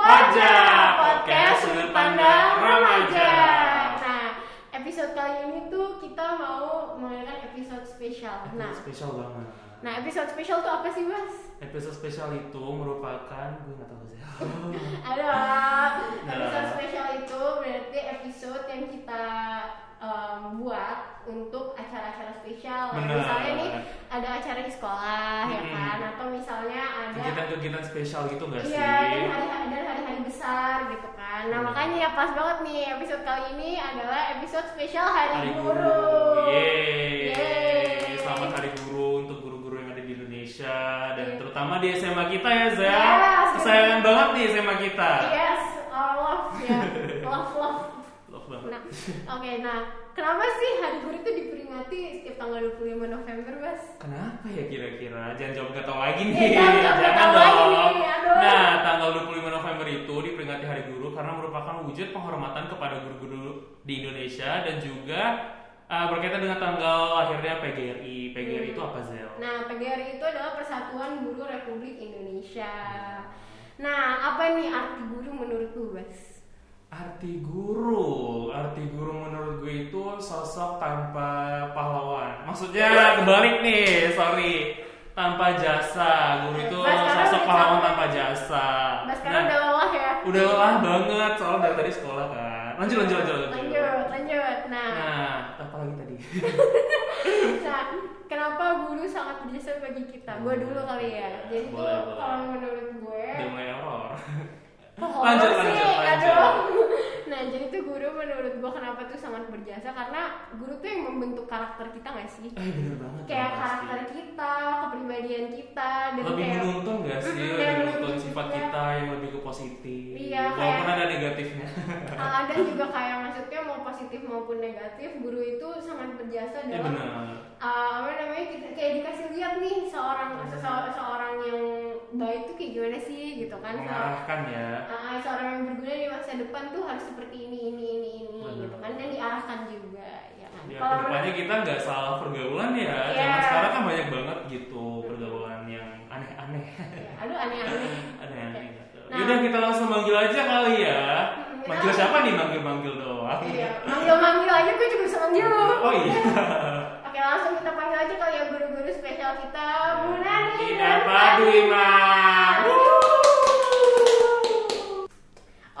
Nah. Remaja, podcast sudut pandang remaja. Nah, episode kali ini tuh kita mau mengadakan episode spesial. Nah, Nah, spesial banget. nah episode spesial tuh apa sih, Mas? episode spesial itu merupakan gue nggak tahu sih. Oh, Ada episode Nah. spesial itu berarti episode yang kita em, buat untuk acara-acara spesial. Kayak Benar. Misalnya nih ada acara di sekolah ya Mm-mm. kan, atau misalnya ada Kegiatan-kegiatan spesial gitu nggak sih? Iya, dan hari-hari dan hari-hari besar gitu kan. Nah, Hmm. makanya ya pas banget nih episode kali ini adalah episode spesial Hari, Hari Guru. Guru. Iya. Yeay. Yeay. Selamat Hari Guru untuk guru-guru yang ada di Indonesia dan Iya. terutama di SMA kita ya, Za. Yes. Kesayangan banget nih SMA kita. Yes, our love ya. love love. Love banget. Nah, oke. nah, kenapa sih Hari Guru itu diperingati setiap tanggal 25 November, Mas? Kenapa ya kira-kira? Jangan jawab gak tahu lagi Eh, nih. jangan jawab nggak tahu lagi nih, aduh. Nah, tanggal 25 November itu diperingati Hari Guru karena merupakan wujud penghormatan kepada guru-guru di Indonesia dan juga uh, berkaitan dengan tanggal lahirnya PGRI. PGRI Hmm. itu apa, Zel? Nah, PGRI itu adalah Persatuan Guru Republik Indonesia. Nah, apa nih arti guru menurut lu, Mas? Arti guru, arti guru menurut gue itu sosok tanpa pahlawan. Maksudnya kebalik nih, sorry. Tanpa jasa, guru itu Mas, sekarang sosok udah pahlawan capek. tanpa jasa. Mas Nah, sekarang udah lelah ya? udah lelah banget soalnya dari tadi sekolah kan lanjut lanjut lanjut Lanjut, lanjut. Nah, nah apa lagi tadi Nah, kenapa guru sangat berjasa bagi kita? Gue dulu kali ya. Jadi Hmm. Boleh, tuh boleh. kalau menurut gue, udah mulai error kok Lanjut, horor lanjut, sih, lanjut. aduh. Nah, jadi tuh guru menurut gue kenapa tuh sangat berjasa karena guru tuh yang membentuk karakter kita gak sih? eh bener banget Kayak ya, pasti. karakter kita, kepribadian kita, dan lebih kayak menuntun gak sih Mm-mm, lebih kayak menuntun menuntun sifat juga. kita yang lebih ke positif Iya, walaupun kayak- ada negatifnya Ah, dan juga kayak maksudnya mau positif maupun negatif, guru itu sangat berjasa ya dalam bener Uh, apa namanya kita kayak dikasih lihat nih seorang se- se- seorang yang baik tuh kayak gimana sih gitu kan seorang, mengarahkan ya uh, seorang yang berguna di masa depan tuh harus seperti ini ini ini ini Benar. gitu kan dan diarahkan juga ya kan ya Kalau kedepannya kita nggak salah pergaulan ya Iya. zaman sekarang kan banyak banget gitu pergaulan yang aneh-aneh menurut- ya, aduh aneh-aneh aneh-aneh gitu. Nah. yaudah kita langsung manggil aja kali ya Hmm, manggil nah. siapa nih manggil-manggil doang iya manggil-manggil aja gue juga bisa manggil Oh iya. oke langsung kita panggil aja kali ya guru-guru spesial kita Bu Nani Kita dan Padwima.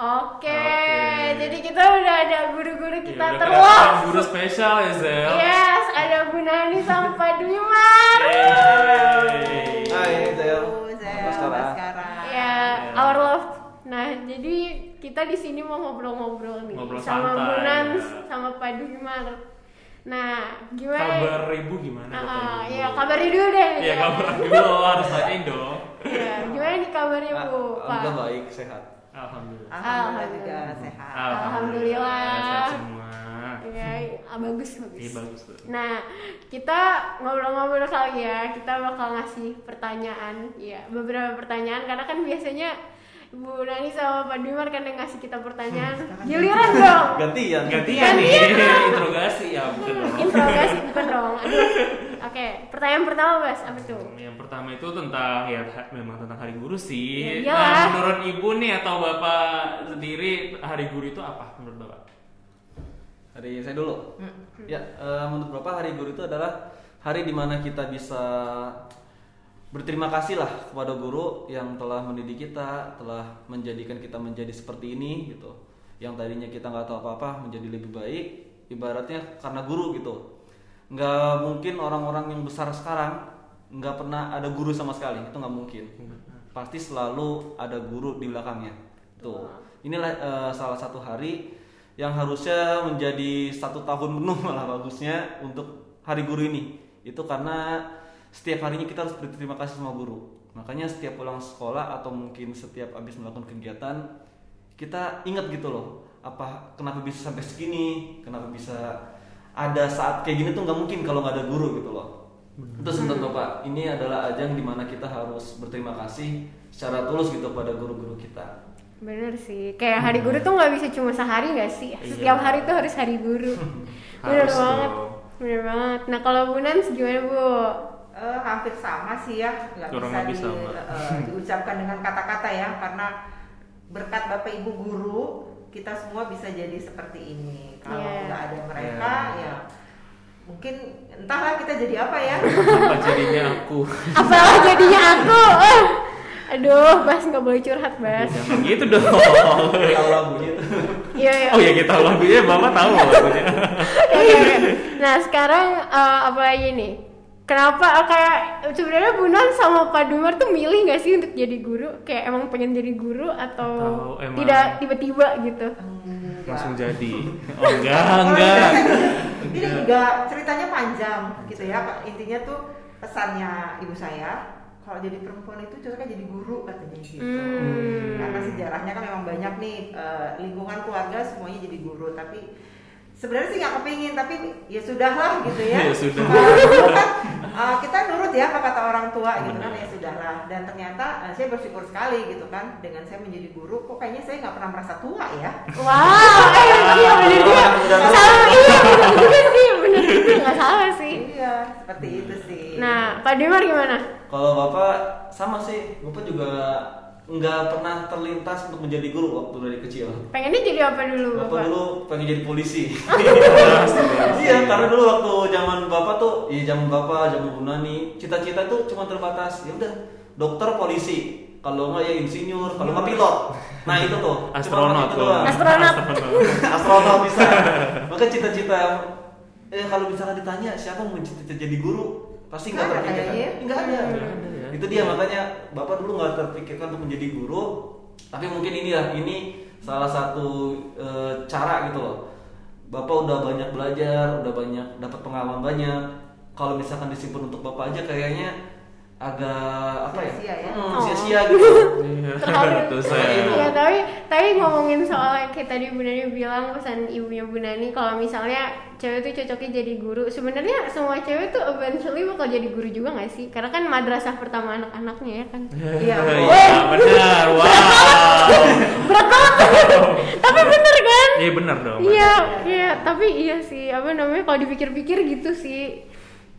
Oke, Oke. jadi kita udah ada guru-guru kita Ya, udah terus. Iya. kelihatan Guru spesial ya Zel. Yes, ada Bu Nani sama Pak Dwiman. Yeay. Hai Zel. Zel, Baskara. Ya, our love. Nah, jadi kita di sini mau ngobrol-ngobrol nih Ngobrol sama santai, Bu Nani ya. sama Pak Dwiman. Nah, gimana? Kabar ibu gimana? Ah, Bapak ah, Ibu? ya kabarnya dulu deh. Iya kabar dulu harus nanyain dong. Iya, gimana nih kabarnya Ah, Bu? Alhamdulillah baik, sehat. Alhamdulillah. Alhamdulillah juga sehat. Ah, Alhamdulillah. Sehat semua. Iya, ah, bagus Iya bagus. bagus tuh. Nah, kita ngobrol-ngobrol kali ya. Kita bakal ngasih pertanyaan, ya beberapa pertanyaan karena kan biasanya Bu Nani sama Pak Dimar kan yang ngasih kita pertanyaan. Giliran dong. Gantian. Gantian nih, interogasi ya Hmm, bukan dong. gitu. Interogasi bukan dong. Aduh. Oke, pertanyaan pertama Mas, apa tuh? Yang pertama itu tentang ya ha- memang tentang hari guru sih. Nah, Ya, iyalah. menurut ibu nih atau bapak sendiri hari guru itu apa menurut bapak? Hari saya dulu. Ya, eh, menurut Bapak hari guru itu adalah hari dimana kita bisa berterima kasih lah kepada guru yang telah mendidik kita, telah menjadikan kita menjadi seperti ini gitu. Yang tadinya kita nggak tahu apa-apa menjadi lebih baik, ibaratnya karena guru gitu. Nggak mungkin orang-orang yang besar sekarang nggak pernah ada guru sama sekali, itu nggak mungkin. Pasti selalu ada guru di belakangnya. Tuh, inilah eh, salah satu hari yang harusnya menjadi satu tahun penuh malah bagusnya untuk hari guru ini itu karena setiap harinya kita harus berterima kasih sama guru makanya setiap pulang sekolah atau mungkin setiap habis melakukan kegiatan kita ingat gitu loh apa kenapa bisa sampai segini kenapa bisa ada saat kayak gini tuh nggak mungkin kalau nggak ada guru gitu loh itu menurut bapak ini adalah ajang dimana kita harus berterima kasih secara tulus gitu pada guru-guru kita Bener sih, kayak hari guru tuh nggak bisa cuma sehari nggak sih? Hmm. Iya. Setiap hari tuh harus hari guru. Bener Harus banget, dong. bener banget. Nah kalau Bu Nans gimana Bu? Eh, hampir sama sih ya, nggak Kurang bisa, lebih di- sama. eh, diucapkan dengan kata-kata ya, karena berkat Bapak Ibu guru kita semua bisa jadi seperti ini. Kalau Iya. nggak ada mereka Iya. ya mungkin entahlah kita jadi apa ya. Apa jadinya aku? Apalah jadinya aku. Ah. Aduh, Bas nggak boleh curhat, Bas. Jangan gitu dong. Tahu lagunya tuh. Iya, iya. Oh ya kita tahu lagunya, Bapak tahu lagunya. Oke, oke. Nah sekarang eh, apa lagi nih? Kenapa eh, kayak sebenarnya Bunan sama Pak Dumar tuh milih nggak sih untuk jadi guru? Kayak emang pengen jadi guru atau, Atau emang- tidak tiba-tiba gitu? Enggak. Langsung jadi. Oh enggak, enggak. Ini juga ceritanya panjang gitu ya. Pak. Intinya tuh pesannya ibu saya kalau jadi perempuan itu cocoknya jadi guru katanya gitu. Hmm. Karena sejarahnya kan memang banyak nih eh, lingkungan keluarga semuanya jadi guru tapi sebenarnya sih nggak kepingin tapi ya sudahlah gitu ya. Ya sudah. Eh, dulu kan, eh, kita nurut ya apa kata orang tua gitu kan ya sudahlah dan ternyata eh, saya bersyukur sekali gitu kan dengan saya menjadi guru kok kayaknya saya nggak pernah merasa tua Iya. ya. Wow, eh iya bener juga. Udah tahu. Salah, iya bener juga sih, bener juga nggak salah sih. Iya, seperti itu sih. Nah Pak Dumar gimana? Kalau bapak sama sih, bapak juga nggak pernah terlintas untuk menjadi guru waktu dari kecil. Pengennya jadi apa dulu Bapak, bapak? dulu pengen jadi polisi. Pasti. iya, karena dulu waktu zaman bapak tuh, iya zaman bapak, zaman Bunani, cita-cita tuh cuma terbatas. Ya udah, dokter, polisi. Kalau nggak ya insinyur, kalau nggak pilot. Nah itu tuh. Cuma Astronot itu tuh. doang. Astronot. Astronot bisa. Maka cita-cita eh kalau misalnya ditanya siapa yang mencita-cita jadi guru, pasti nggak Nggak ada terpikirkan. kayaknya. Nggak ada. Nggak ada ya. Itu dia makanya bapak dulu nggak terpikirkan untuk menjadi guru, tapi mungkin inilah ini salah satu eh, cara gitu loh. Bapak udah banyak belajar, udah banyak dapat pengalaman banyak. Kalau misalkan disimpan untuk bapak aja kayaknya agak apa ya? Sia-sia ya. Hmm, Oh. sia-sia gitu. Terharu. Itu saya. Iya tapi tapi ngomongin soal yang kayak tadi Bu Nani bilang pesan ibunya Bu Nani kalau misalnya cewek tuh cocoknya jadi guru sebenarnya semua cewek tuh eventually bakal jadi guru juga nggak sih karena kan madrasah pertama anak-anaknya ya kan Iya. Iya, benar. Wow. berat banget tapi bener kan Iya benar dong. iya iya tapi iya sih apa namanya kalau dipikir-pikir gitu sih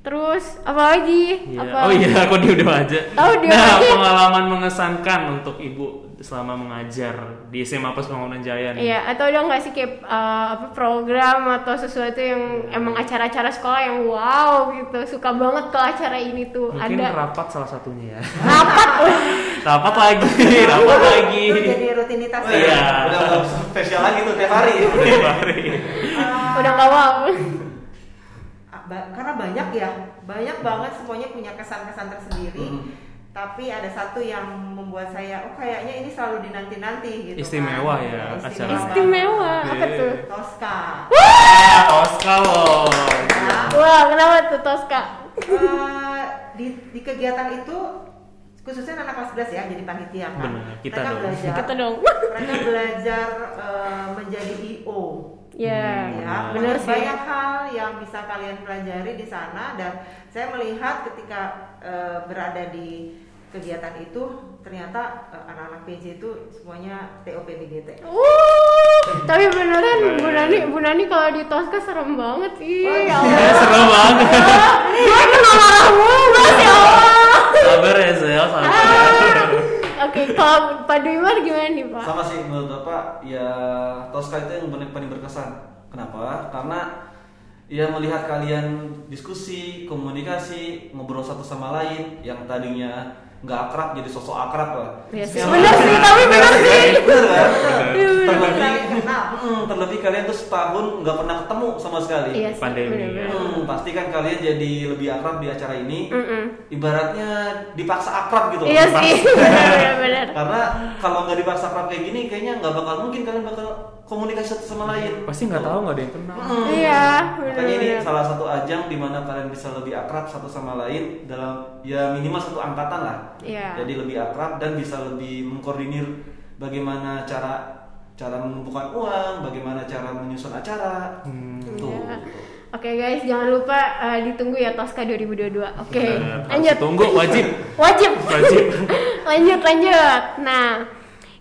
terus apalagi Iya. apa Oh iya, aku dia udah aja. Oh, dia nah, aja. pengalaman mengesankan untuk ibu selama mengajar di SMA Pas Pembangunan Jaya nih. Iya, atau ada nggak sih kayak uh, apa program atau sesuatu yang emang Hmm. acara-acara sekolah yang wow gitu, suka banget tuh acara ini tuh Mungkin ada rapat salah satunya ya. rapat. rapat lagi, rapat lagi. Terus jadi rutinitas. ya. Oh, iya. Udah nggak spesial lagi tuh tiap hari. Tiap hari. Ah, Udah nggak wow. ah, ba- karena banyak ya, banyak banget semuanya punya kesan-kesan tersendiri. Mm-hmm. Hmm. Tapi ada satu yang membuat saya, oh kayaknya ini selalu dinanti-nanti gitu. kan. Istimewa ya, acara. banget. Istimewa. Apa Iya. tuh? Tosca. Ah, Tosca loh. Iya. Nah, Wah, kenapa tuh Tosca? eh, di, di kegiatan itu khususnya anak kelas 11 ya, jadi panitia kan. Benar, kita mereka dong. belajar, Kita dong. mereka belajar eh, menjadi IO. Hmm. Ya, ya bener benar sih. banyak hal yang bisa kalian pelajari di sana dan saya melihat ketika eh, berada di kegiatan itu ternyata eh, anak-anak PJ itu semuanya Iya. TOPBGT Wuh, Uh, tapi beneran Bu Keren. Nani, Bu Nani kalau di Tosca serem banget sih. Oh, Ya, ya Allah. seru banget. Gue kena marah mulu, Mas, ya Allah. Sabar ya, Zel, sabar. Ah. Oke, kalau Pak Duimar gimana nih, Pak? Sama sih menurut Bapak ya Tosca itu yang paling paling berkesan. Kenapa? Karena ya melihat kalian diskusi, komunikasi, ngobrol satu sama lain yang tadinya nggak akrab jadi sosok akrab lah. Iya sih. Sekarang- Bener sih, tapi bener sih. Bener kan? Iya, bener. Terlebih, Saling kenal. Mm, terlebih kalian tuh setahun nggak pernah ketemu sama sekali. Iya sih, Pandemi. bener-bener. Hmm, pasti kan kalian jadi lebih akrab di acara ini. Mm-mm. Ibaratnya dipaksa akrab gitu. Iya sih, benar-benar. Karena kalau nggak dipaksa kerap kayak gini, kayaknya nggak bakal mungkin kalian bakal komunikasi satu sama lain. Pasti nggak tahu nggak ada yang kenal. Mm. Iya, Makanya ini benar-benar. salah satu ajang di mana kalian bisa lebih akrab satu sama lain dalam ya minimal satu angkatan lah. Iya. Jadi lebih akrab dan bisa lebih mengkoordinir bagaimana cara cara mengumpulkan uang, bagaimana cara menyusun acara. Hmm. Tuh. Iya. Oke guys, jangan lupa eh, ditunggu ya Tosca 2022. Oke, Bener. Harus lanjut. Tunggu wajib. Wajib. Wajib. lanjut, lanjut. Nah,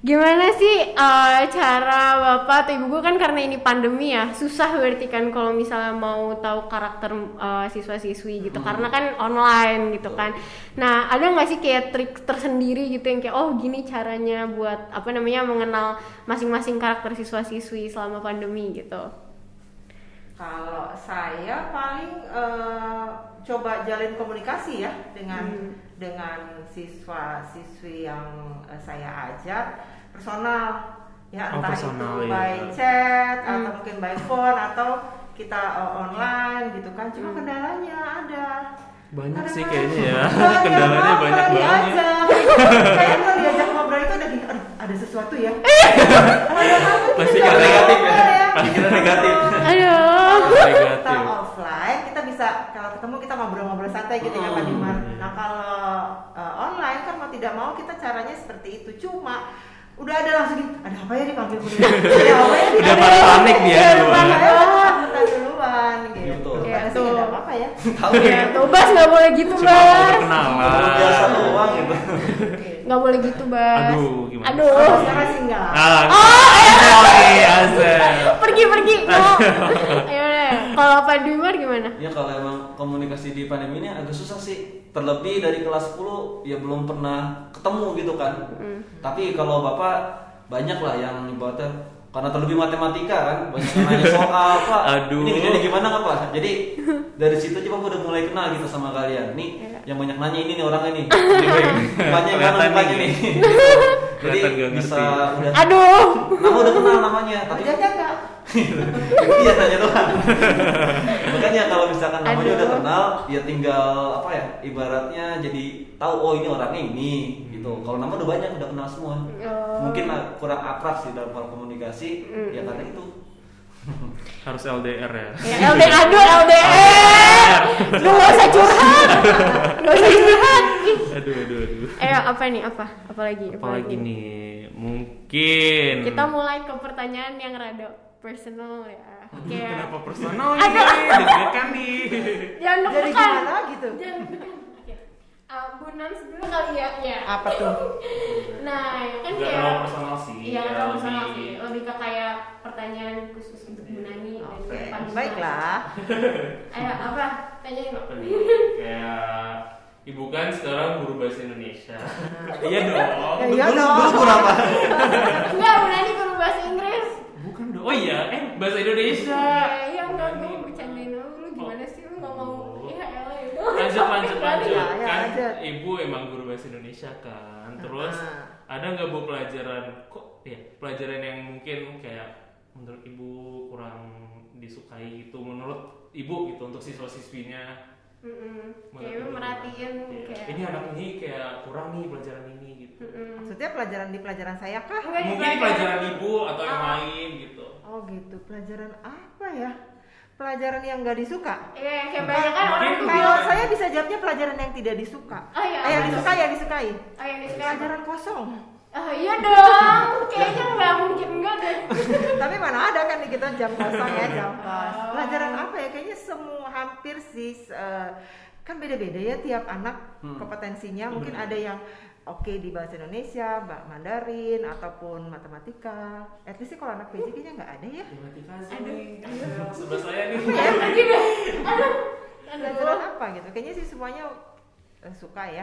Gimana sih eh, cara bapak atau ibu gue kan karena ini pandemi ya susah berarti kan kalau misalnya mau tahu karakter eh, siswa-siswi Hmm. gitu karena kan online gitu kan. Nah ada nggak sih kayak trik tersendiri gitu yang kayak oh gini caranya buat apa namanya mengenal masing-masing karakter siswa-siswi selama pandemi gitu. Kalau saya paling eh, coba jalin komunikasi ya dengan dengan siswa-siswi yang eh, saya ajak personal ya Oh, entah personal, itu iya. by chat atau mungkin by phone atau kita eh, online gitu kan cuma kendalanya ada Banyak Kadang-kadang sih kayaknya ya. banyak Kendalanya banget banyak Iya, kalau banget. diajak. Kayak kalau diajak ngobrol itu ada gini, "Aduh, ada sesuatu ya. Ada apa sih? Pasti Ada negatif apa ya? ya? Pikiran negatif. Aduh. Kalau kita Negatif. offline kita bisa kalau ketemu kita ngobrol-ngobrol santai gitu ya Pak Hmm, Dimar. iya. Nah kalau eh, online kan mau tidak mau kita caranya seperti itu cuma udah ada langsung gini, ada apa ya dipanggil dulu. Ada apa ya Udah dipanggil? pada panik dia Iya, duluan. panik. Ada duluan gitu. Gitu. Padahal sih Gitu. ada apa-apa ya. Tahu Ya, ya. tuh Bas nggak boleh gitu Cuma mau Bas. perkenalan. Biasa doang gitu. Nggak boleh gitu Bas. Aduh, gimana? Aduh. Kalau sekarang sih enggak. Ah, Oh, sorry, Azel. pergi pergi. No. Ayo deh. Kalau Pak Dwimar gimana? Ya kalau emang komunikasi di pandemi ini agak susah sih. Terlebih dari kelas 10 ya belum pernah ketemu gitu kan. Tapi kalau Bapak banyak lah yang ibaratnya karena terlebih matematika kan banyak yang nanya soal apa Aduh. ini jadi gimana nggak pak jadi dari situ aja bapak udah mulai kenal gitu sama kalian nih yang banyak nanya ini nih orangnya nih mukanya yang Kelihatan kanan mukanya nih. nih Gitu. jadi Kelihatan nggak bisa ngerti. udah Aduh. nama udah kenal namanya tapi Wajahnya enggak. iya tanya doang makanya kalau misalkan namanya Aduh. udah kenal ya tinggal apa ya ibaratnya jadi tahu oh ini orangnya ini gitu kalau nama udah banyak udah kenal semua Oh. mungkin lah kurang akrab sih dalam hal komunikasi ya karena itu Harus LDR ya. Ya, LDR, aduh LDR. Lu gak usah curhat. Gak usah curhat. Ih. Aduh, aduh, aduh. Eh, apa nih? Apa? Apalagi? Apalagi nih, mungkin. Kita mulai ke pertanyaan yang rada personal ya. Kayak Kenapa personal nih? Deg-degan nih. jangan Jadi deg-degan. gimana gitu. Jangan deg-degan. Oke. Ah, Bu Nans dulu kali ya. Ya. Apa tuh? Nah, ya kan Gak kayak terlalu personal sih. Iya, ya, nggak terlalu personal lebih- sih. Lebih ke kayak pertanyaan khusus untuk Bu Nani dan Oke, Pak Dimas. baiklah. Ayo, Eh, apa? Tanyain Apa Pak. nih? Kayak ibu kan sekarang guru bahasa Indonesia. Iya dong. Ya, iya Dulu- dong. dulu kurang apa Enggak, Bu Nani guru bahasa Inggris. Bukan dong. Oh iya, eh bahasa Indonesia. Ya, iya enggak gue bercandain lu, lu gimana sih lu nggak Oh. mau ya elah ya udah. lanjut lanjut lanjut Ya, ya, kan lanjut. ibu emang guru bahasa Indonesia kan terus Ah. ada nggak bu pelajaran kok ya pelajaran yang mungkin kayak menurut ibu kurang disukai gitu menurut ibu gitu untuk siswa siswinya Mm-mm. kayak lu merhatiin Iya. kayak ini anak ini kayak kurang nih pelajaran ini gitu Mm-mm. Maksudnya pelajaran di pelajaran saya kah? Enggak, mungkin ini pelajaran ibu atau yang lain gitu Oh gitu, pelajaran apa ya? Pelajaran yang nggak disuka? Iya, kayak banyak kan orang tuh Kalau bilang saya bisa jawabnya pelajaran yang tidak disuka. Oh iya, Eh, apa yang tuh? disukai, yang disukai. Oh yang disuka Pelajaran kosong. Oh iya dong, kayaknya nggak mungkin enggak deh Tapi mana ada kan di kita jam kosong ya jam kos. Oh. Pelajaran apa ya? Kayaknya semua hampir sih eh, kan beda-beda ya tiap anak Hmm. kompetensinya. Iya, Mungkin ada yang oke di bahasa Indonesia, bah- Mandarin ataupun matematika. At least sih kalau anak PJ kayaknya nggak ada ya. matematika sih nih sebelah saya nih Kayak pergi deh Aduh pelajaran apa gitu kayaknya sih semuanya eh, suka ya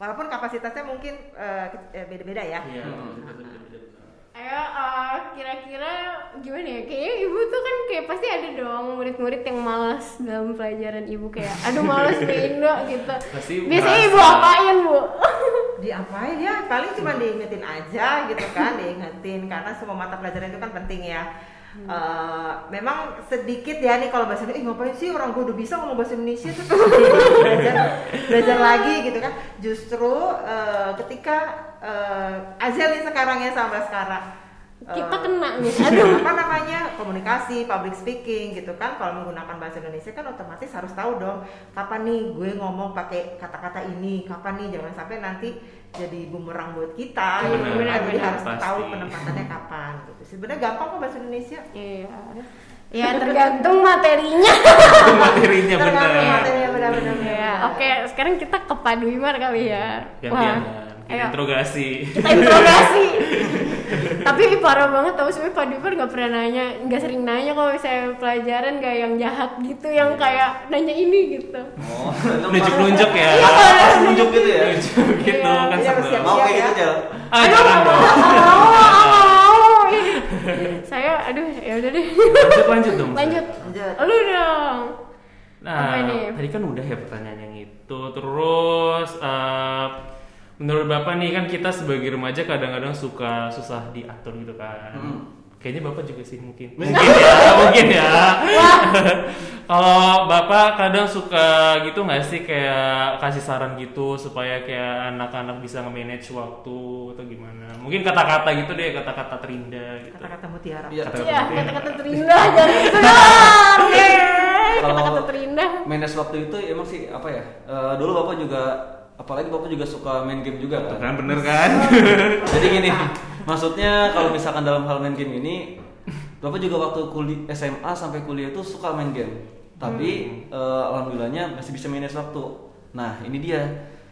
walaupun kapasitasnya mungkin eh, ke- eh, beda-beda ya iya Hmm. betul, betul, betul, betul. Ayo, eh, kira-kira gimana ya? Kayaknya ibu tuh kan kayak pasti ada dong murid-murid yang malas dalam pelajaran ibu kayak, aduh malas di Indo gitu. Pasti Biasanya ibu merasa. apain bu? diapain ya paling cuma diingetin aja gitu kan diingetin karena semua mata pelajaran itu kan penting ya Eh, memang sedikit ya nih kalau bahasa Indonesia, "Ih, ngapain sih orang gue udah bisa ngomong bahasa Indonesia terus belajar, belajar lagi gitu kan. Justru eh, ketika eh Azel nih sekarang ya sama sekarang eh, Kita kena nih. Aduh. aduh apa namanya komunikasi public speaking gitu kan kalau menggunakan bahasa Indonesia kan otomatis harus tahu dong kapan nih gue ngomong pakai kata-kata ini kapan nih jangan sampai nanti jadi bumerang buat Iya, kita gitu kan. benar, jadi benar, harus pasti. tahu penempatannya kapan gitu sebenarnya gampang kok bahasa Indonesia Iya. Ya tergantung materinya. materinya tergantung Iya, benar materinya benar-benar Iya. Oke, sekarang kita ke Pak Dwimar kali ya. gantian kan Kita interogasi Kita interogasi. tapi parah banget tau sebenernya Pak Dipar nggak pernah nanya nggak sering nanya kalau misalnya pelajaran kayak yang jahat gitu yang Iya. kayak nanya ini gitu Oh, nunjuk nunjuk ya nunjuk gitu ya. nunjuk gitu Iya, kan iya, sebelum siap. Mau kayak gitu, Jel. ah jangan dong mau mau saya aduh ya udah deh lanjut lanjut dong lanjut Lanjut. lu dong Apa Nah, ini? tadi kan udah ya pertanyaan yang itu. Terus, eh, menurut Bapak nih kan kita sebagai remaja kadang-kadang suka susah diatur gitu kan. Hmm. Kayaknya Bapak juga sih mungkin. Mungkin ya, mungkin ya. Kalau Bapak kadang suka gitu nggak sih kayak kasih saran gitu supaya kayak anak-anak bisa nge-manage waktu atau gimana? Mungkin kata-kata gitu deh, kata-kata terindah gitu. Kata-kata mutiara. Iya. Iya, kata-kata terindah jangan gitu doang. Deh, Kalau- Kata-kata terindah. Manage waktu itu emang sih apa ya? Eh, dulu bapak juga apalagi bapak juga suka main game juga Iya. kan. Kan bener kan? Jadi gini, maksudnya kalau misalkan dalam hal main game ini, bapak juga waktu kuliah SMA sampai kuliah itu suka main game. Tapi eh, alhamdulillahnya masih bisa manage waktu. Nah ini dia,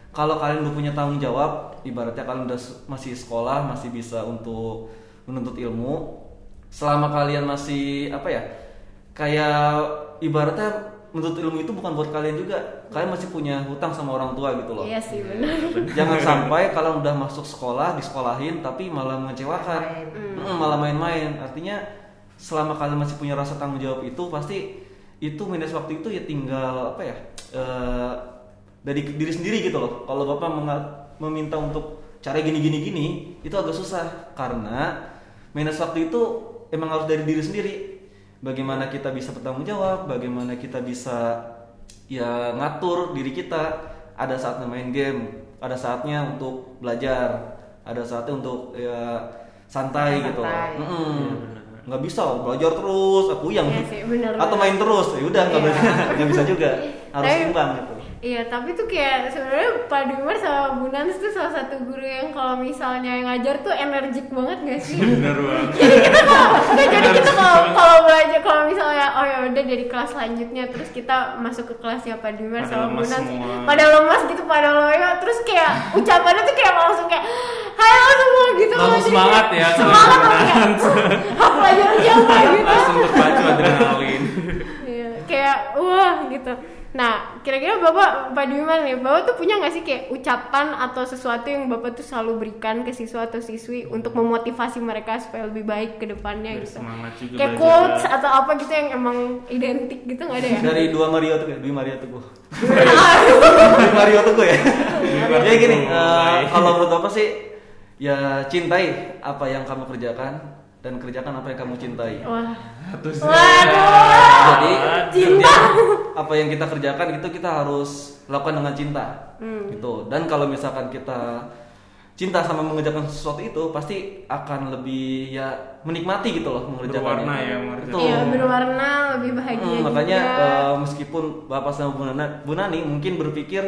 kalau kalian udah punya tanggung jawab, ibaratnya kalian udah s- masih sekolah, masih bisa untuk menuntut ilmu, selama kalian masih apa ya, kayak ibaratnya menuntut ilmu itu bukan buat kalian juga, kalian masih punya hutang sama orang tua gitu loh. Iya sih benar. Jangan sampai kalau udah masuk sekolah disekolahin tapi malah mengecewakan, Mm, malah main-main. Artinya selama kalian masih punya rasa tanggung jawab itu pasti itu minus waktu itu ya tinggal apa ya eh, dari diri sendiri gitu loh. Kalau bapak menga- meminta untuk cara gini-gini gini itu agak susah karena minus waktu itu emang harus dari diri sendiri. Bagaimana kita bisa bertanggung jawab, bagaimana kita bisa ya ngatur diri kita ada saatnya main game ada saatnya untuk belajar ada saatnya untuk ya santai, Santai. gitu Mm-mm. Iya, benar. nggak bisa belajar terus aku yang Iya sih, benar, atau benar. main terus ya udah nggak Iya. bisa nggak bisa juga harus Tapi- seimbang gitu Iya, tapi tuh kayak sebenarnya Pak Dumar sama Bu Nans tuh salah satu guru yang kalau misalnya yang ngajar tuh energik banget gak sih? bener banget. jadi kita kalau nggak, jadi kita kalau kalau belajar kalau misalnya oh ya udah dari kelas selanjutnya terus kita masuk ke kelasnya Pak Dimar Pada sama Bu lemas Nansi semua. pada lemas gitu pada loyo terus kayak ucapannya tuh kayak langsung kayak halo semua gitu Langsung Jadi semangat kayak ya, semangat sama Bu langsung kayak "Hah, pelajaran siapa gitu Langsung terpacu adrenalin. Iya, kayak wah gitu nah kira-kira bapak Pak Dimar nih bapak tuh punya nggak sih kayak ucapan atau sesuatu yang bapak tuh selalu berikan ke siswa atau siswi untuk memotivasi mereka supaya lebih baik ke depannya Biar gitu semangat juga kayak belajar. quotes atau apa gitu yang emang identik gitu nggak ada ya? dari dua Mario tuh Dwi Mario Teguh Dwi Mario Teguh ya Mario jadi gini Teguh, eh, baik. kalau menurut apa sih ya cintai apa yang kamu kerjakan dan kerjakan apa yang kamu cintai Wah, Satu Waduh. Jadi Cinta. setiap apa yang kita kerjakan itu kita harus lakukan dengan cinta. Hmm. Gitu. Dan kalau misalkan kita cinta sama mengerjakan sesuatu itu pasti akan lebih ya menikmati gitu loh mengerjakannya. Berwarna ya, mengerjakan. Betul. iya berwarna lebih bahagia Hmm, juga. makanya eh, meskipun Bapak sama Bu Nana, Bu Nani mungkin berpikir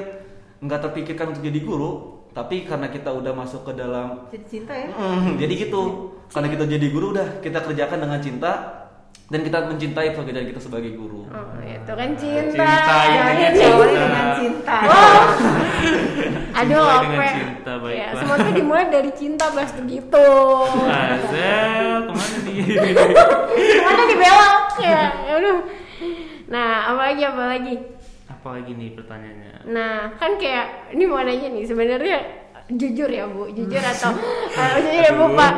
nggak terpikirkan untuk jadi guru, tapi karena kita udah masuk ke dalam Jadi cinta ya. Mm, jadi gitu. Karena kita jadi guru udah kita kerjakan dengan cinta dan kita mencintai pekerjaan kita sebagai guru. oh, itu kan cinta. Iya, Cinta, intinya Ini- cinta. Diawali Iya, dengan cinta. Wah. Aduh, Dimulai apa? dengan cinta, Ya, baiklah. semua tuh dimulai dari cinta bahas gitu. Azel kemana nih? Mana dibelok ya? Aduh. Nah, apa lagi apa lagi? Apa lagi nih pertanyaannya? Nah, kan kayak ini mau nanya nih sebenarnya jujur ya Bu, jujur atau eh, jujur ya Bu Aduh. Pak.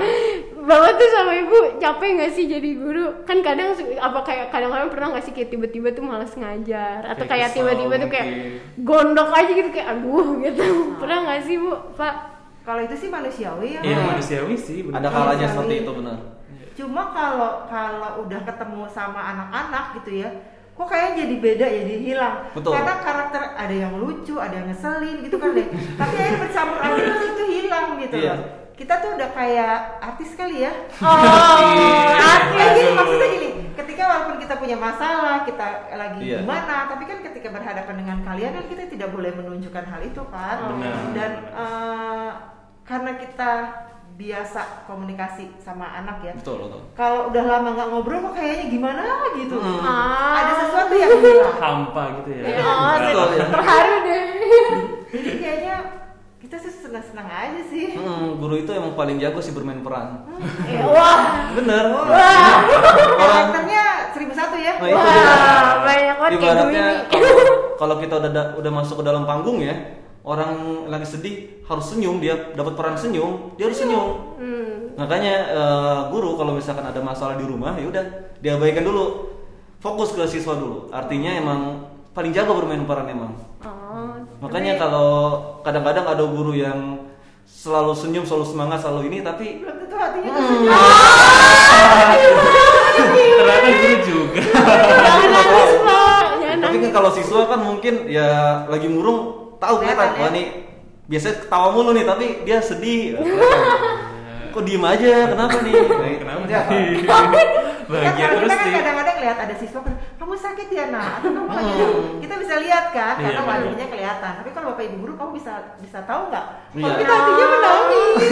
Bapak tuh sama Ibu capek nggak sih jadi guru? Kan kadang su- apa kayak kadang-kadang pernah nggak sih kayak tiba-tiba tuh malas ngajar atau Kayak kayak kesel tiba-tiba tuh kayak mungkin. Nah. gondok aja gitu kayak aduh gitu. Pernah nggak sih Bu, Pak? Kalau itu sih manusiawi ya. Iya Pak. manusiawi sih. bener. Ada Iya, kalanya seperti itu benar. Cuma kalau kalau udah ketemu sama anak-anak gitu ya, kok kayaknya jadi beda jadi hilang. Betul. Karena karakter ada yang lucu, ada yang ngeselin gitu kan deh. Tapi akhirnya bercampur aduk terus itu hilang gitu Iya. loh. Kita tuh udah kayak artis kali Iya Iya ya. Iya, Oh, Kayak artis. gini maksudnya gini, ketika walaupun kita punya masalah, kita lagi Iya. gimana, tapi kan ketika berhadapan dengan kalian kan kita tidak boleh menunjukkan hal itu kan. Benar. Dan eh, karena kita biasa komunikasi sama anak ya. Betul, betul. Kalau udah lama nggak ngobrol kok kayaknya gimana gitu. Hmm. Ah. Ada sesuatu yang hilang. Hampa gitu ya. Ya, oh, Betul, ya. terharu deh. Jadi kayaknya kita sih seneng-seneng aja sih Hmm, guru itu emang paling jago sih bermain peran. Eh, wah. Bener. Oh, Orang Oh, karakternya seribu satu ya Nah, itu Wah, dia. banyak banget kayak gue Ibaratnya ini. kalau- kalau kita udah da- udah masuk ke dalam panggung ya, orang lagi sedih harus senyum, dia dapat peran senyum, dia harus senyum. Hmm. Makanya eh, guru kalau misalkan ada masalah di rumah ya udah diabaikan dulu. Fokus ke siswa dulu. Artinya emang paling jago bermain peran emang. Oh. Makanya tapi- kalau kadang-kadang ada guru yang selalu senyum, selalu semangat, selalu ini tapi belum tentu hatinya Hmm. tersenyum Ternyata guru Iya, juga. Iya, jangan nangis, Pak. Jangan tapi kan nangis. kalau siswa kan mungkin ya lagi murung tahu Kelihatan, kelihatan wah ya? nih biasanya ketawa mulu nih tapi dia sedih. Kok diem aja? Kenapa nih? Nah, Iya, Kenapa? dia apa? kan Bahagia kalau terus nih. kita kan gitu kadang-kadang lihat ada siswa kan kamu sakit ya nak atau kamu lagi Hmm. kita bisa lihat kan Iya, karena betul. wajahnya kelihatan tapi kalau bapak ibu guru kamu bisa bisa tahu nggak kalau Iya. kita hatinya menangis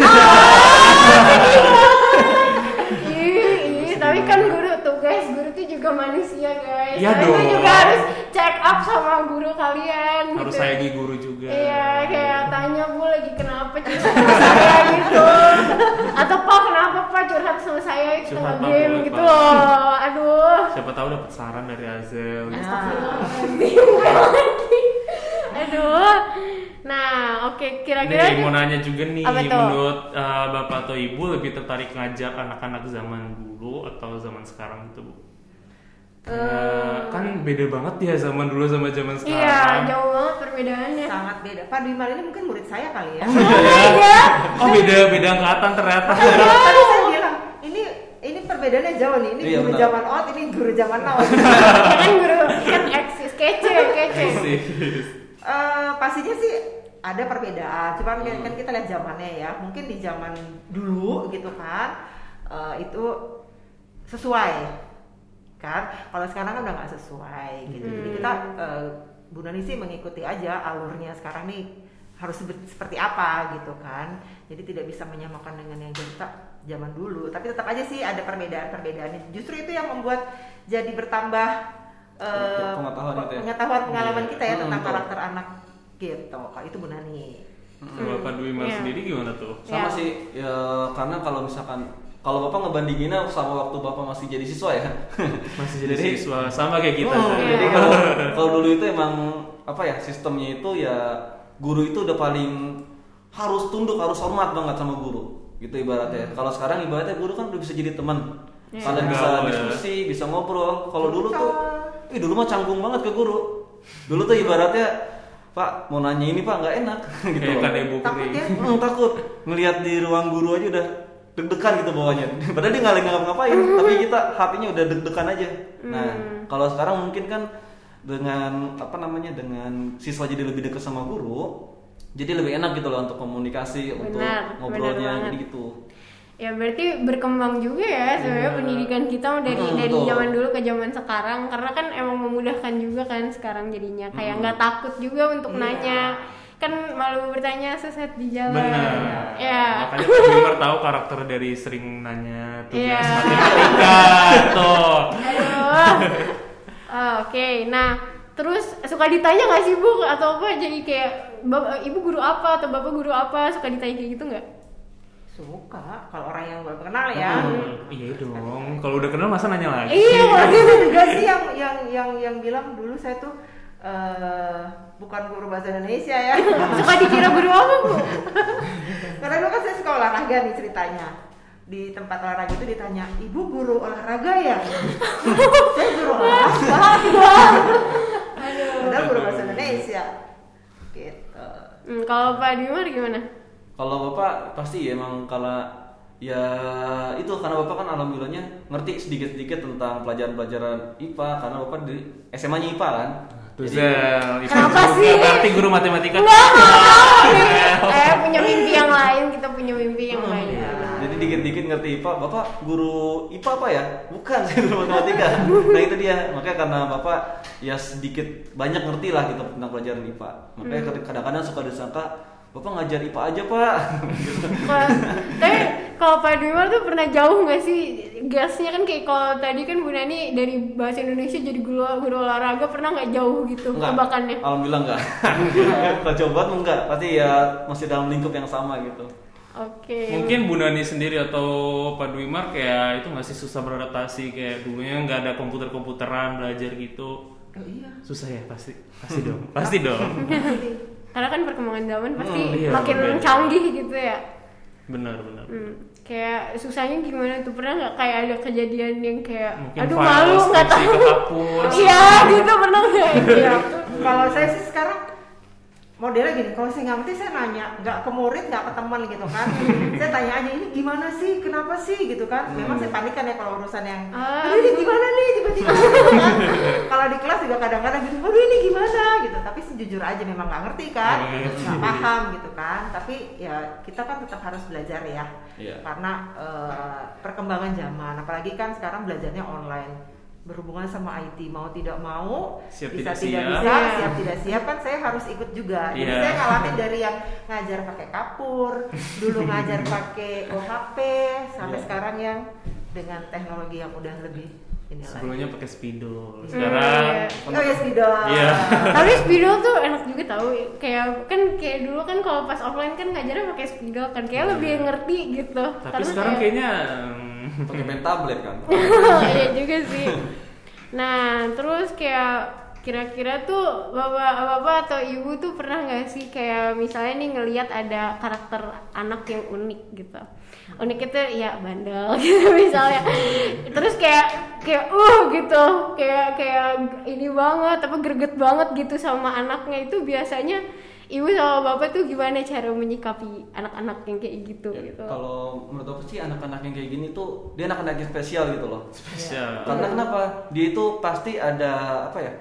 Ih, ih, tapi kan guru tuh guys, guru tuh juga manusia guys. Iya Kalian dong. juga harus check up sama guru kalian. Harus gitu. sayangi guru juga. Iya, kayak tanya bu lagi kenapa curhat sama saya gitu. Atau pak kenapa pak curhat sama saya kita Curhat, nggak Pak, game boleh, gitu Pak. loh. Aduh. Siapa tahu dapat saran dari Azel. Iya. Nah. Astagfirullahaladzim, gue lagi. Aduh. Nah, oke kira-kira Nih, mau nanya juga nih, Apa tuh? menurut uh, bapak atau ibu lebih tertarik ngajar anak-anak zaman dulu atau zaman sekarang itu bu? Kayak, kan beda banget ya zaman dulu sama zaman sekarang. Eh. Iya, jauh banget perbedaannya. sangat beda Pak Dwimar ini mungkin murid saya kali ya Oh my god. Oh beda beda angkatan ternyata. Hmm. tadi Oh. saya bilang ini ini perbedaannya jauh nih ini Iya, guru benar. zaman out ini guru zaman now ya kan guru kan eksis kece kece Eh, pastinya sih ada perbedaan cuman kan- Hmm. kan kita lihat zamannya ya mungkin di zaman dulu gitu kan eh, itu sesuai kan kalau sekarang kan udah nggak sesuai gitu jadi Hmm. kita eh, Bu Nani sih mengikuti aja alurnya sekarang nih harus sebe- seperti apa gitu kan jadi tidak bisa menyamakan dengan yang kita zaman dulu tapi tetap aja sih ada perbedaan-perbedaan justru itu yang membuat jadi bertambah eh, Pengetahuan gitu ya? pengetahuan pengalaman kita ya Hmm, tentang betul. karakter anak gitu kalau itu Bu Nani Kalau Bapak Dwi Mar Iya. sendiri gimana tuh? sama Ya. sih ya karena kalau misalkan kalau bapak ngebandinginnya sama waktu bapak masih jadi siswa ya Masih jadi siswa sama kayak kita. Iya. Hmm, Zal. jadi gitu. kalau kalau dulu itu emang apa ya sistemnya itu ya guru itu udah paling harus tunduk harus hormat banget sama guru gitu ibaratnya kalau sekarang ibaratnya guru kan udah bisa jadi teman kalian bisa Gaul ya. diskusi bisa ngobrol kalau dulu tuh Betul. ih dulu mah canggung banget ke guru dulu tuh ibaratnya pak mau nanya ini pak nggak enak gitu Kayak loh. kan ibu Takut kering. ya? Hmm, takut ngelihat di ruang guru aja udah deg-degan gitu bawahnya. Padahal dia nggak lagi ngapa-ngapain, tapi kita hatinya udah deg-degan aja. Nah, Hmm. kalau sekarang mungkin kan dengan apa namanya dengan siswa jadi lebih dekat sama guru, jadi lebih enak gitu loh untuk komunikasi, untuk Benar, benar ngobrolnya banget. jadi gitu. ya berarti berkembang juga ya sebenarnya pendidikan kita dari Hmm, dari betul. zaman dulu ke zaman sekarang karena kan emang memudahkan juga kan sekarang jadinya kayak nggak takut juga untuk nanya kan malu bertanya seset di jalan Benar. ya Makanya Pak Dwi Mar tahu karakter dari sering nanya tugas Iya. matematika tuh. Aduh. Ah, oke nah terus suka ditanya nggak sih bu atau apa jadi kayak "Bap- ibu guru apa atau bapak guru apa suka ditanya kayak gitu nggak suka kalau orang yang baru kenal ya Hmm, Iya dong. Kalau udah kenal masa nanya lagi. iya waduh. ada juga sih yang yang yang yang bilang dulu saya tuh eh, bukan guru bahasa Indonesia ya suka dikira guru apa bu karena dulu kan saya suka olahraga nih ceritanya di tempat olahraga itu ditanya ibu guru olahraga ya saya guru olahraga padahal guru bahasa Indonesia gitu Hmm, kalau Pak Dimar gimana? Kalau bapak pasti ya emang kalau ya itu karena bapak kan alhamdulillahnya ngerti sedikit-sedikit tentang pelajaran-pelajaran IPA karena bapak di SMA-nya IPA kan. Tuh Jadi- Zel, itu Kenapa juga sih? Berarti guru matematika. Enggak, enggak, enggak. Eh, punya mimpi yang lain, kita punya mimpi yang lain. Jadi dikit-dikit ngerti IPA, Bapak guru IPA apa ya? Bukan, saya guru matematika. Nah itu dia, makanya karena Bapak ya sedikit banyak ngerti lah gitu tentang pelajaran IPA. Hmm. Makanya kadang-kadang suka disangka, Bapak ngajar IPA aja Pak. Kalau- Tapi kalau Pak Dwimar tuh pernah jauh nggak sih gasnya kan kayak kalau tadi kan Bu Nani dari bahasa Indonesia jadi guru, guru olahraga pernah nggak jauh gitu tebakannya? Alhamdulillah enggak. Kalau coba tuh enggak, pasti ya masih dalam lingkup yang sama gitu. Oke. Mungkin Bu Nani sendiri atau Pak Dwimar kayak itu masih susah beradaptasi kayak dulunya nggak ada komputer-komputeran belajar gitu. Oh, iya. Susah ya pasti. Pasti dong. Pasti dong. Karena kan perkembangan zaman pasti Hmm, iya, makin berbeda. canggih gitu ya. Benar benar. Hmm, kayak susahnya gimana tuh pernah nggak kayak ada kejadian yang kayak Mungkin aduh file malu nggak skripsi tahu kehapus. iya gitu pernah nggak Iya. iya kalau saya sih sekarang modelnya gini, kalau saya nggak ngerti saya nanya, nggak ke murid, nggak ke teman gitu kan. saya tanya aja ini gimana sih, kenapa sih gitu kan. Memang saya panikan ya kalau urusan yang, Ah. aduh ini gimana nih tiba-tiba gitu kan. kalau di kelas juga kadang-kadang gitu, aduh ini gimana gitu. Tapi sih jujur aja memang nggak ngerti kan, Nggak ngerti. nggak paham gitu kan. Tapi ya kita kan tetap harus belajar ya, Iya. karena eh, perkembangan zaman. Apalagi kan sekarang belajarnya online berhubungan sama IT mau tidak mau Siap bisa tidak siap. tidak bisa Iya. siap tidak siap kan saya harus ikut juga jadi Iya. saya ngalamin dari yang ngajar pakai kapur dulu ngajar pakai OHP sampai Iya. sekarang yang dengan teknologi yang udah lebih ini lagi Sebelumnya pakai spidol. Sekarang Iya. oh ya spidol Iya. tapi spidol tuh enak juga tahu kayak kan kayak dulu kan kalau pas offline kan ngajarnya pakai spidol kan kayak lebih ngerti gitu Iya, tapi sekarang kayak- kayaknya em, Pakai pen tablet kan. iya juga sih nah terus kayak kira-kira tuh bapak-bapak atau ibu tuh pernah nggak sih kayak misalnya nih ngelihat ada karakter anak yang unik gitu unik itu ya bandel gitu misalnya terus kayak kayak uh gitu kayak kayak ini banget apa greget banget gitu sama anaknya itu biasanya ibu sama bapak tuh gimana cara menyikapi anak-anak yang kayak gitu Ya, gitu Kalau menurut aku sih anak-anak yang kayak gini tuh dia anak-anak yang spesial gitu loh. spesial. Karena kenapa? Dia itu pasti ada apa ya?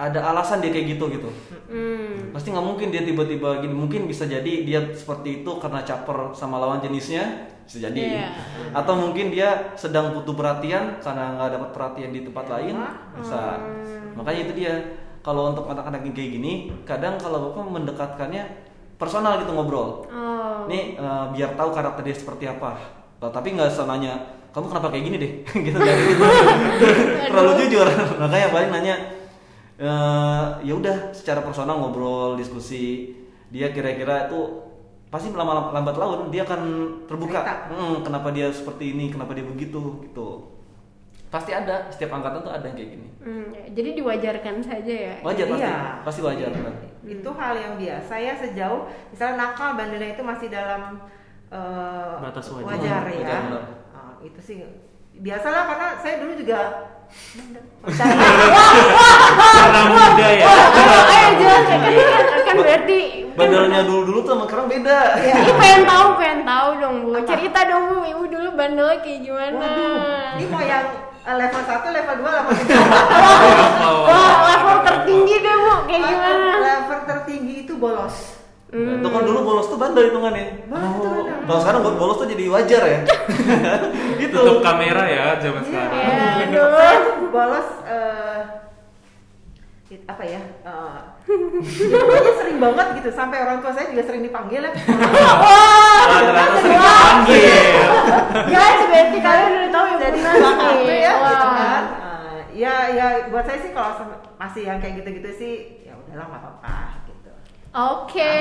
Ada alasan dia kayak gitu gitu. hmm. Pasti nggak mungkin dia tiba-tiba gini. Mungkin bisa jadi dia seperti itu karena caper sama lawan jenisnya. Bisa jadi. Iya. Atau mungkin dia sedang butuh perhatian karena nggak dapat perhatian di Iya. tempat lain. Bisa. Hmm. Makanya itu dia. Kalau untuk anak-anak yang kayak gini, kadang kalau bapak mendekatkannya personal gitu ngobrol. oh Nih eh, biar tahu karakter dia seperti apa. Nah, tapi nggak usah nanya, kamu kenapa kayak gini deh? gitu nggak gitu. Terlalu jujur. Makanya paling nanya eh, ya udah secara personal ngobrol, diskusi. Dia kira-kira itu pasti lama lambat laun dia akan terbuka. Cerita. Hmm, kenapa dia seperti ini? Kenapa dia begitu? Gitu. Pasti ada setiap angkatan tuh ada yang kayak gini. Hmm, ya, jadi diwajarkan saja ya. Wajar pasti. Iya. Pasti wajar. kan? itu hal yang biasa ya sejauh misalnya nakal bandelnya itu masih dalam eh, Batas wajar. ya Wajar, benar. Ah, itu sih biasalah karena saya dulu juga Karena muda ya. Ayo, ayo jelaskan kan, kan berarti Bandelnya dulu-dulu tuh sama sekarang beda. Iya. Ini pengen tahu, pengen tahu dong bu. Cerita dong bu, ibu dulu bandelnya kayak gimana? Waduh, ini mau yang eh, level 1, level 2, level Wah level tertinggi deh bu, kayak 3 gimana? Level tertinggi itu bolos Nah, Itu kan dulu bolos tuh bandel hitungannya. Bandel. Oh, Kalau sekarang buat bolos tuh jadi wajar ya. gitu. Tutup kamera ya zaman Iya. sekarang. Ya, Saya aduh. tuh bolos eh, it- apa ya eh, jadinya sering banget gitu sampai orang tua saya juga sering dipanggil ya Ah, ternyata sering dipanggil. Guys, berarti kalian udah tahu ya jadi bu bang Nani. Andre ya gitu Wah. kan Eh, ya ya buat saya sih kalau sem- masih yang kayak gitu-gitu sih ya udahlah nggak apa-apa gitu Oke,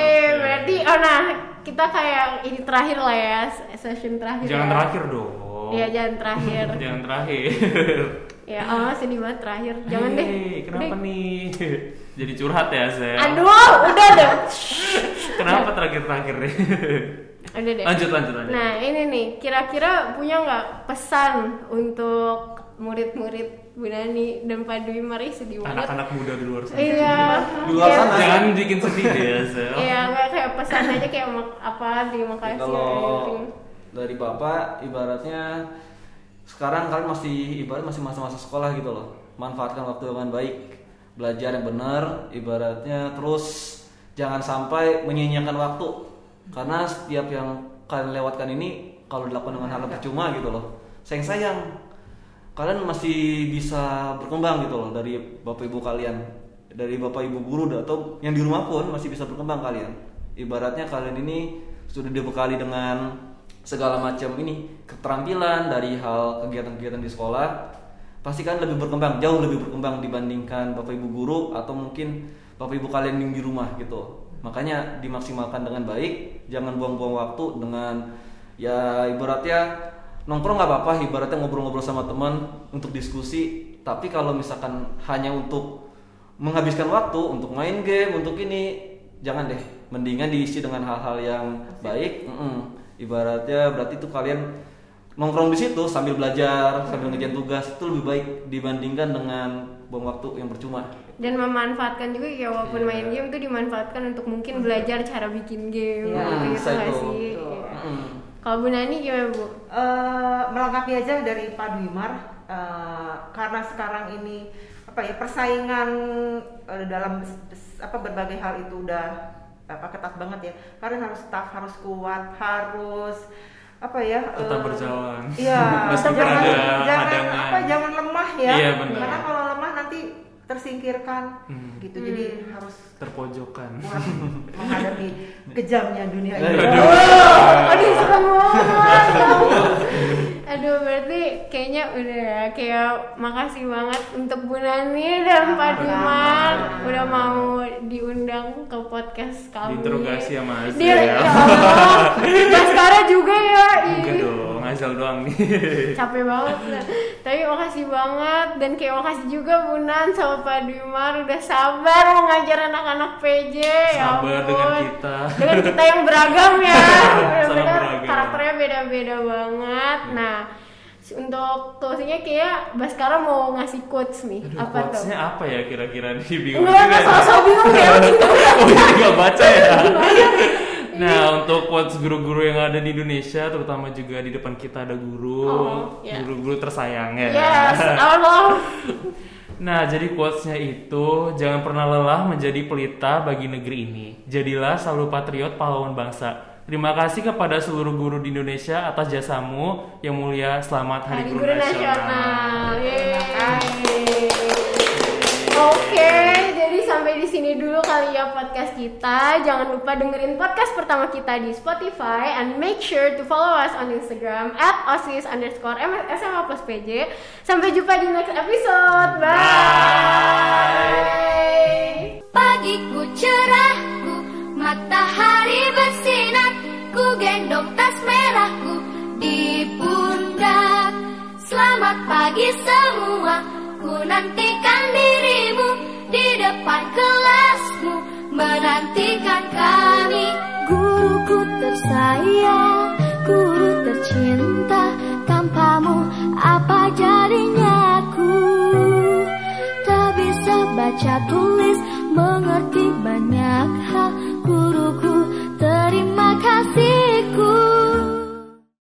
berarti oh nah kita kayak ini terakhir lah ya session terakhir. Jangan ya. terakhir dong. Iya jangan terakhir. Jangan terakhir. ya oh sedih banget terakhir. Jangan deh. Hei, Kenapa Udah. nih? Jadi curhat ya, Zel. Aduh, udah deh. Kenapa terakhir-terakhir nih? Udah deh. lanjut, lanjut, lanjut. Nah ini nih, kira-kira punya nggak pesan untuk murid-murid Bu Nani dan Pak Dwi Mari sedih banget. Anak-anak muda di luar sana. Iya. Di luar Iya. sana. Jangan bikin sedih deh ya, Zel. Iya, nggak kayak pesan aja kayak mak- apa gitu. terima Ya, kasih. Kalau everything. dari bapak ibaratnya sekarang kalian masih ibarat masih masa-masa sekolah gitu loh. Manfaatkan waktu dengan baik, belajar yang benar, ibaratnya terus jangan sampai menyia-nyiakan waktu. Karena setiap yang kalian lewatkan ini kalau dilakukan dengan hal yang percuma gitu loh. Sayang-sayang kalian masih bisa berkembang gitu loh dari bapak ibu kalian dari bapak ibu guru dan- atau yang di rumah pun masih bisa berkembang kalian ibaratnya kalian ini sudah dibekali dengan segala macam ini keterampilan dari hal kegiatan-kegiatan di sekolah pasti kan lebih berkembang jauh lebih berkembang dibandingkan bapak ibu guru atau mungkin bapak ibu kalian yang di rumah gitu makanya dimaksimalkan dengan baik jangan buang-buang waktu dengan ya ibaratnya nongkrong nggak apa-apa ibaratnya ngobrol-ngobrol sama teman untuk diskusi tapi kalau misalkan hanya untuk menghabiskan waktu untuk main game untuk ini jangan deh mendingan diisi dengan hal-hal yang baik Mm-mm. ibaratnya berarti itu kalian nongkrong di situ sambil belajar sambil ngerjain tugas itu lebih baik dibandingkan dengan buang waktu yang percuma dan memanfaatkan juga ya walaupun Iya. main game itu dimanfaatkan untuk mungkin belajar cara bikin game Iya, gitu gitu bisa nggak itu. sih Betul. Iya. Mm-mm. kalau Bu Nani gimana Bu Eh, melengkapi aja dari Pak Dwimar eh, karena sekarang ini apa ya persaingan eh, dalam s- s- apa berbagai hal itu udah apa ketat banget ya. Kalian harus tough, harus kuat, harus apa ya? eh, Tetap berjalan. Iya. Meskipun jangan ada jangan hadangan. apa jangan lemah ya. Iya, benar. Karena kalau lemah nanti tersingkirkan Hmm. gitu. Jadi harus terpojokan kuat menghadapi kejamnya dunia ini. Aduh. Aduh, aduh serem banget. Aduh, berarti kayaknya udah ya, kayak makasih banget untuk Bu Nani dan Pak Dumar udah mau diundang ke podcast kami. Diinterogasi sama Azil. Di- ya Allah. Baskara juga ya. ih. enggak dong Azal doang nih capek banget nah. tapi makasih banget dan kayak makasih juga Bunan sama Pak Dwimar udah sabar mau ngajar anak-anak PJ Sabar ampun. dengan kita. dengan kita yang beragam ya benar-benar beragam. karakternya beda-beda banget nah untuk closingnya kayak Baskara mau ngasih quotes nih Aduh, apa tuh quotes-nya apa ya kira-kira nih bingung juga Enggak, enggak, ya. sosok bingung ya, oh iya nggak baca ya Iya. nah untuk quotes guru-guru yang ada di Indonesia terutama juga di depan kita ada guru Oh, iya. guru-guru tersayang ya yes, our love Nah, jadi quotesnya itu jangan pernah lelah menjadi pelita bagi negeri ini. Jadilah selalu patriot pahlawan bangsa. Terima kasih kepada seluruh guru di Indonesia atas jasamu yang mulia. Selamat Hari, Hari Guru Nasional. Yeay. Oke, jadi sampai di sini dulu kali ya podcast kita. Jangan lupa dengerin podcast pertama kita di Spotify and make sure to follow us on Instagram at osis underscore M- SMA plus PJ. Sampai jumpa di next episode. Bye. Pagiku cerahku, matahari bersinar, ku gendong tas merahku di pundak. Selamat pagi semua, ku nantikan dirimu di depan kelasmu, menantikan kami. Guruku tersayang, guru tercinta.